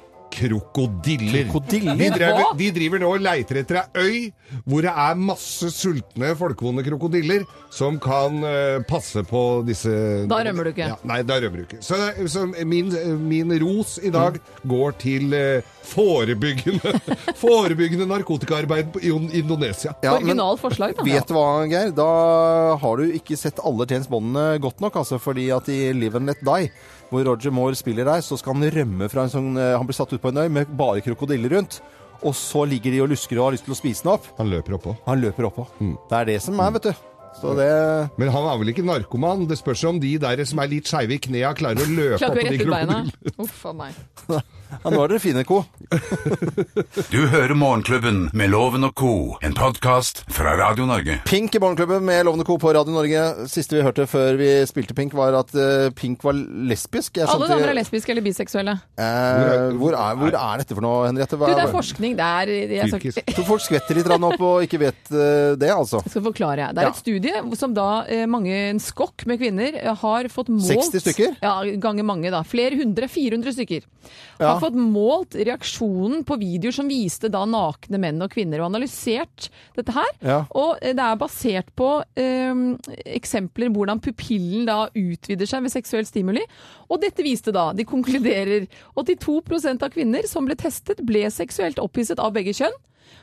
E: krokodiller.
B: Krokodiller?
E: De, drev, de driver nå og leiter etter ei øy hvor det er masse sultne, folkevonde krokodiller som kan eh, passe på disse
C: Da rømmer du ikke.
E: Ja, nei, da rømmer du ikke. Så, så min, min ros i dag går til eh, forebyggende, forebyggende narkotikaarbeid på- i Indonesia.
C: Original forslag, da.
B: Vet du hva, Geir? Da har du ikke sett alle James Bondene godt nok, altså, fordi at i Live and Let Die, hvor Roger Moore spiller der, så skal han rømme fra en sånn eh, Han blir satt ut på en øy med bare krokodiller rundt. Og så ligger de og lusker og har lyst til å spise den opp.
E: Han løper oppå.
B: Han løper oppå.
E: Mm.
B: Det er det som er, vet du. Så det
E: Men han er vel ikke narkoman? Det spørs om de der som er litt skeive i knea, klarer å løpe
C: Klapper
E: oppå
C: rett
E: de
C: ut beina.
E: krokodillene.
C: Uff a meg.
B: Ja, nå er dere fine, ko.
A: Du hører Morgenklubben med Loven og Co., en podkast fra Radio Norge.
B: Pink i Morgenklubben med Lovende Co. på Radio Norge. Siste vi hørte før vi spilte Pink, var at eh, Pink var lesbisk. Jeg
C: Alle
B: skjønte-
C: damer sånn er lesbiske eller biseksuelle.
B: Eh, hvor, er, hvor er dette for noe, Henriette?
C: Du,
B: Hva-
C: det er forskning. Det er jeg har sagt-
B: Så folk skvetter litt grann opp og ikke vet eh, det, altså.
C: skal forklare. Det er
B: Ja.
C: et studie som da eh, mange, en skokk med kvinner, eh, har fått målt
B: 60 stykker?
C: Ja, ganger mange, da. Flere hundre, 400 stykker.
B: Ja.
C: Har fått målt reaksjonen på videoer som viste da nakne menn og kvinner, og analysert dette her.
K: Ja.
C: Og eh, det er basert på eh, eksempler hvordan pupillen da utvider seg ved seksuell stimuli. Og dette viste da, de konkluderer, 82 av kvinner som ble testet, ble seksuelt opphisset av begge kjønn.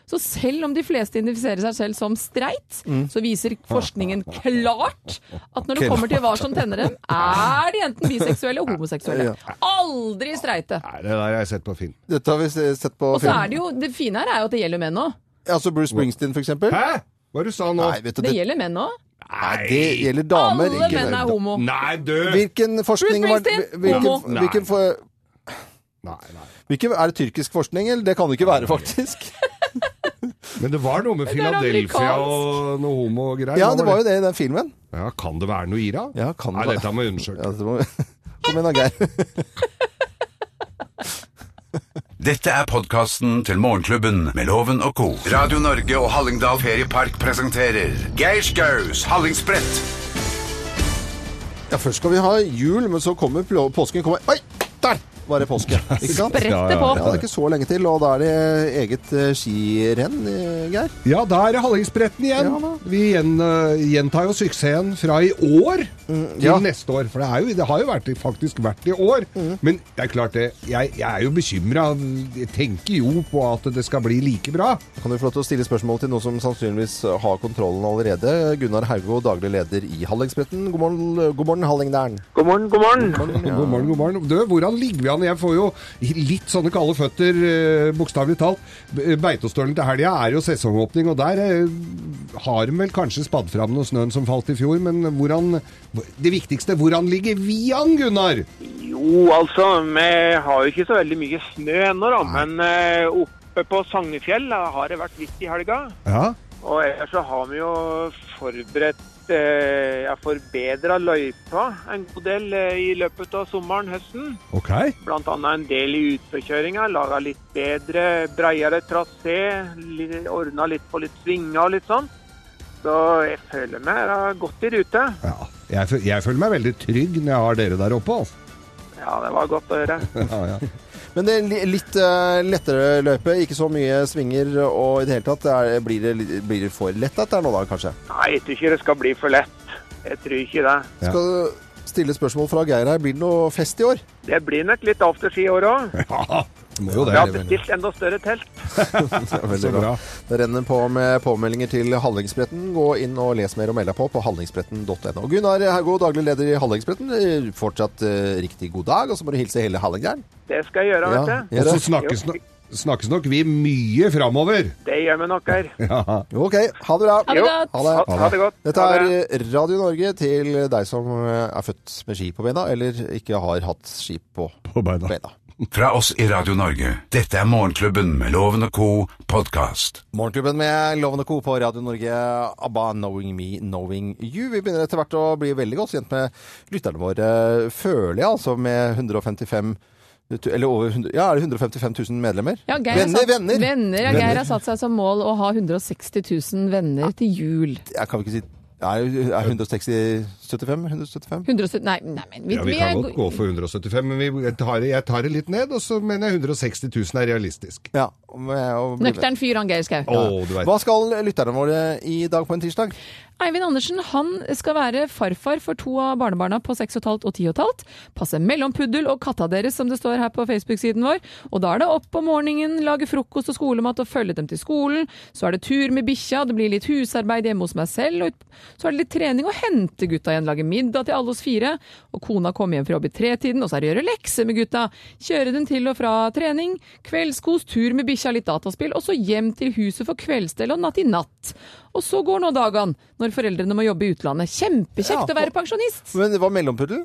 C: Så selv om de fleste identifiserer seg selv som streit,
K: Mm.
C: så viser forskningen klart at når det
K: Klart.
C: kommer til hva som tenner dem, er de enten biseksuelle og homoseksuelle. Aldri streite!
E: Nei, Det der har jeg sett på film.
B: Dette har vi se- sett på
C: Og så er det jo, det fine her er jo at det gjelder menn òg.
B: Altså Bruce Springsteen, for eksempel.
E: Hæ? Hva du sa nå?
B: Nei, vet du,
C: Det gjelder menn òg.
B: Nei, det gjelder damer.
C: Alle
B: ikke-
C: menn er homo.
E: Nei, dø!
B: Hvilken forskning
C: Bruce
B: var
C: Springsteen,
B: hvilken,
C: homo.
B: hvilken, for, Hvilken, er det tyrkisk forskning, eller? Det kan det ikke være, faktisk.
E: Men det var noe med
B: Det er
E: Philadelphia
B: amerikansk.
E: og noe homo og greier.
B: Ja, det var jo det i den filmen.
E: Ja, kan det være noe i det?
B: Ja, kan det
E: Nei,
B: være-
E: dette må jeg undersøke.
B: Kom igjen da, Geir.
A: Dette er podkasten til Morgenklubben med Loven og Co. Radio Norge og Hallingdal Feriepark presenterer Geir Skaus Hallingsbrett.
B: Ja, først skal vi ha jul, men så kommer plå- påsken kommer, Oi! Der var det påske. Ikke sant?
E: Spretter Ja, ja, ja. på.
B: Ja, det er ikke så lenge til, og da er det eget eh, skirenn, eh, Geir.
E: Ja, da er det Hallingsbretten igjen. vi gjen, øh, gjentar jo suksessen fra i år til
B: Mm, ja.
E: neste år. For det, er jo, det har jo vært, faktisk vært i år.
B: Mm.
E: Men det er klart det, jeg, jeg er jo bekymra. Jeg tenker jo på at det skal bli like bra.
B: Kan du få lov til å stille spørsmål til noen som sannsynligvis har kontrollen allerede? Gunnar Haugo, daglig leder i Hallingsbretten. God morgen, god morgen Hallingdæren.
E: God morgen, god morgen. God morgen, god morgen. Du, hvordan ligger vi an? Jeg får jo litt sånne kalde føtter, eh, bokstavelig talt. B- eh, Beitostølen til helga er jo sesongåpning, og der eh, har de vel kanskje spadd fram noe snøen som falt i fjor, men hvordan Det viktigste, hvordan ligger vi an, Gunnar?
D: Jo, altså, vi har jo ikke så veldig mye snø ennå, da. Men eh, oppe på Sognefjell eh, har det vært litt i helga.
E: Ja.
D: Og ellers så har vi jo forberedt eh, ja, forbedra løypa en god del eh, i løpet av sommeren, høsten.
E: Ok.
D: Blant annet en del i utforkjøringa. Laga litt bedre, breiere trasé. Ordna litt på litt svinger og litt sånn. Så jeg føler meg da godt i rute.
E: Jeg, fø- jeg føler meg veldig trygg når jeg har dere der oppe. Altså.
D: Ja, det var godt å høre.
E: Ja, ja.
B: Men det er li- litt eh, lettere løype, ikke så mye svinger og i det hele tatt. Det er, blir, det, li- blir det for lett dette her nå da, kanskje?
D: Nei, jeg tror ikke det skal bli for lett. Jeg tror ikke det.
B: Skal du stille spørsmål fra Geir her. Blir det noe fest i år?
D: Det blir nok litt afterski i år òg.
E: Ja, det må
D: Vi har bestilt enda større telt.
B: Det er
E: Så
B: Veldig bra. Det renner på med påmeldinger til Hallingsbretten. Gå inn og les mer og meld deg på på hallingsbretten.no. Gunnar Haugo, daglig leder i Hallingsbretten. Eh, Fortsatt eh, riktig god dag, og så må du hilse hele Hallingdæren.
D: Det skal jeg gjøre,
B: Ja,
D: vet du.
B: gjør det.
E: Og så snakkes nå- snakkes nok vi mye framover.
L: Det gjør vi nok her.
E: Ja.
B: Ok, ha det bra.
L: Ha det godt.
B: Ha det.
L: Ha- ha det godt.
B: Dette
L: Ha
B: er Radio Norge til deg som eh, er født med ski på beina, eller ikke har hatt ski på, beina.
A: Fra oss i Radio Norge, dette er Morgenklubben med Loven og Co. podkast.
B: Morgenklubben med Loven og Co. på Radio Norge, ABBA, Knowing Me, Knowing You. Vi begynner etter hvert å bli veldig godt kjent med lytterne våre, føler jeg, altså med 155 eller over 100, ja, er det 155 000 medlemmer?
C: Ja, altså. Geir har
B: venner,
C: satt,
B: venner!
C: ja,
B: Venner.
C: Geir har satt seg som mål å ha 160 000 venner til jul.
B: Jeg kan ikke si Er det er 160 75? 175?
C: 170, nei, nei, men vi,
E: Ja, vi
C: vi
E: kan
C: er
E: godt
C: go-
E: gå for 175, men vi, jeg, tar, det- jeg tar det litt ned, og så mener jeg 160 000 er realistisk.
B: Ja, og,
C: Nøktern fyr, han Geir Skau.
E: Å, du vet.
B: Hva skal lytterne våre i dag på en tirsdag?
C: Eivind Andersen han skal være farfar for to av barnebarna på 6,5 og 10,5. Passe mellompuddel og katta deres, som det står her på Facebook-siden vår. Og da er det opp om morgenen, lage frokost og skolemat og følge dem til skolen. Så er det tur med bikkja, det blir litt husarbeid hjemme hos meg selv. Og ut- så er det litt trening og hente gutta igjen, lage middag til alle oss fire. Og kona kommer hjem fra jobb i tretiden, og så er det å gjøre lekser med gutta. Kjøre dem til og fra trening, kveldskos, tur med bikkja, litt dataspill, og så hjem til huset for kveldsstell og natt i natt. Og så går nå dagene, når foreldrene må jobbe i utlandet. Kjempekjekt
B: Ja,
C: å være pensjonist!
B: Men det var mellompuddel?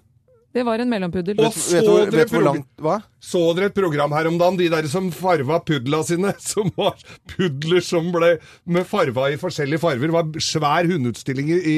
C: Det var en mellompuddel.
E: Og så dere,
B: hvor langt-
E: så dere et program her om dagen, de der som farva pudla sine, som var pudler som ble med farva i forskjellige farver, Det var svær hundeutstilling i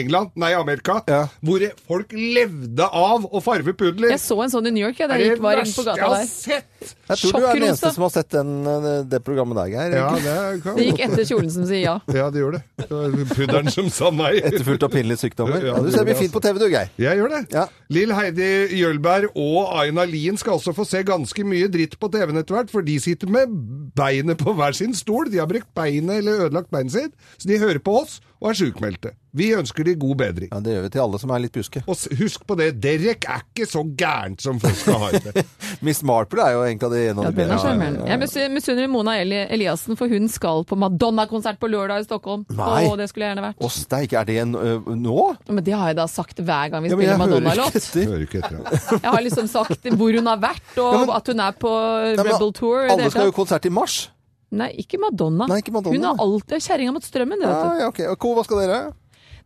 E: England, nei, Amerika, hvor folk levde av å farve pudler.
C: Jeg så en sånn i New York, jeg, da
E: Er det
C: jeg gikk var inne
E: verste
C: på gata
E: jeg har
C: der.
B: Jeg tror du er den eneste
C: Sjokkrosa.
B: som har sett den, eh, det programmet der, Geir.
E: Ja, det kan-
C: Det gikk etter kjolen som sier ja.
E: Ja, det gjorde det. Det var pudderen som sa nei.
B: Etterfulgt av pinlige sykdommer. Ja, du
E: det altså-
B: ser
E: gjorde
B: det blir fint på TV, du, Geir.
E: Jeg gjør det. Lill Heidi Jølberg og Aina Lien skal også få se ganske mye dritt på TV-en etter hvert, for de sitter med beinet på hver sin stol. De har brekt beinet eller ødelagt beinet sitt, så de hører på oss og er sjukmeldte. Vi ønsker de god bedring.
B: Ja, Det gjør vi til alle som er litt buske.
E: Og s- husk på det, Derek er ikke så gærent som folk skal ha det.
B: Miss Marple er jo en av de en av
C: Ja,
B: de
C: den er
B: bedre.
C: sjarmerende. Jeg misun- misunner Mona Eli Eliassen, for hun skal på Madonna-konsert på lørdag i Stockholm.
B: Nei.
C: Å, det skulle jeg gjerne vært.
B: Å steike, er det en ø, nå?
C: Men det har jeg da sagt hver gang vi
B: Ja, men
C: spiller
B: jeg hører ikke sånn.
C: Madonna-låt.
B: etter.
C: Jeg har liksom sagt hvor hun har vært, og at hun er på
B: men
C: Rebel Tour. i det
B: Alle
C: hele
B: skal jo
C: tatt.
B: konsert i mars.
C: Nei, ikke Madonna.
B: Nei, ikke Madonna.
C: Hun har alltid kjerringa mot strømmen. Det,
B: Ja,
C: vet du.
B: ja, ok. Og Ko, hva skal dere?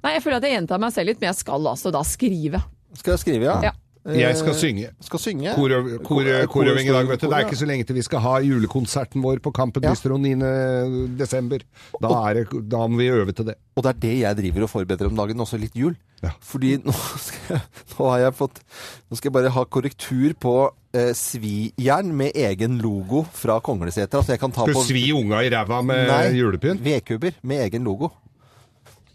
C: Nei, jeg føler at jeg gjentar meg selv litt, men jeg skal altså da skrive.
B: Skal jeg skrive, ja?
C: Ja.
E: Jeg skal synge.
B: Skal synge?
E: Korøv- kor- Korøving i dag, vet du. Det er ikke så lenge til vi skal ha julekonserten vår på Kampen Bistro 9. desember. Da, er det, da må vi øve til det.
B: Og det er det jeg driver og forbereder om dagen, også litt jul. Fordi nå, skal jeg, nå har jeg fått Nå skal jeg bare ha korrektur på eh, svijern med egen logo fra Konglesetra. Så jeg kan ta
E: Skal
B: på
E: du svi unga i ræva med
B: Nei,
E: julepynt?
B: Vedkubber med egen logo.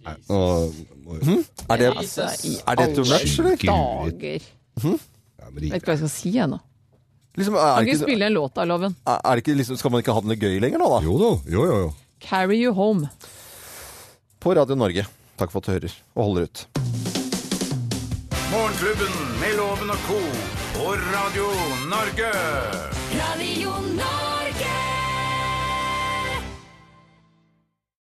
E: Hm?
B: Er det,
C: Altså, i
B: er det too
C: alle
B: much, eller?
C: Dager.
B: Hm?
C: Vet ikke hva jeg skal si ennå.
B: Liksom, er,
C: Kan
B: det
C: ikke
B: ikke,
C: spille en låt av Loven.
B: er det ikke liksom, skal man ikke ha det noe gøy lenger nå, da?
E: Jo da. Jo, jo, jo.
C: Carry you home.
B: På Radio Norge. Takk for at du hører og holder ut.
A: Morgenklubben med Loven og Co. på Radio Norge.
K: Radio Norge.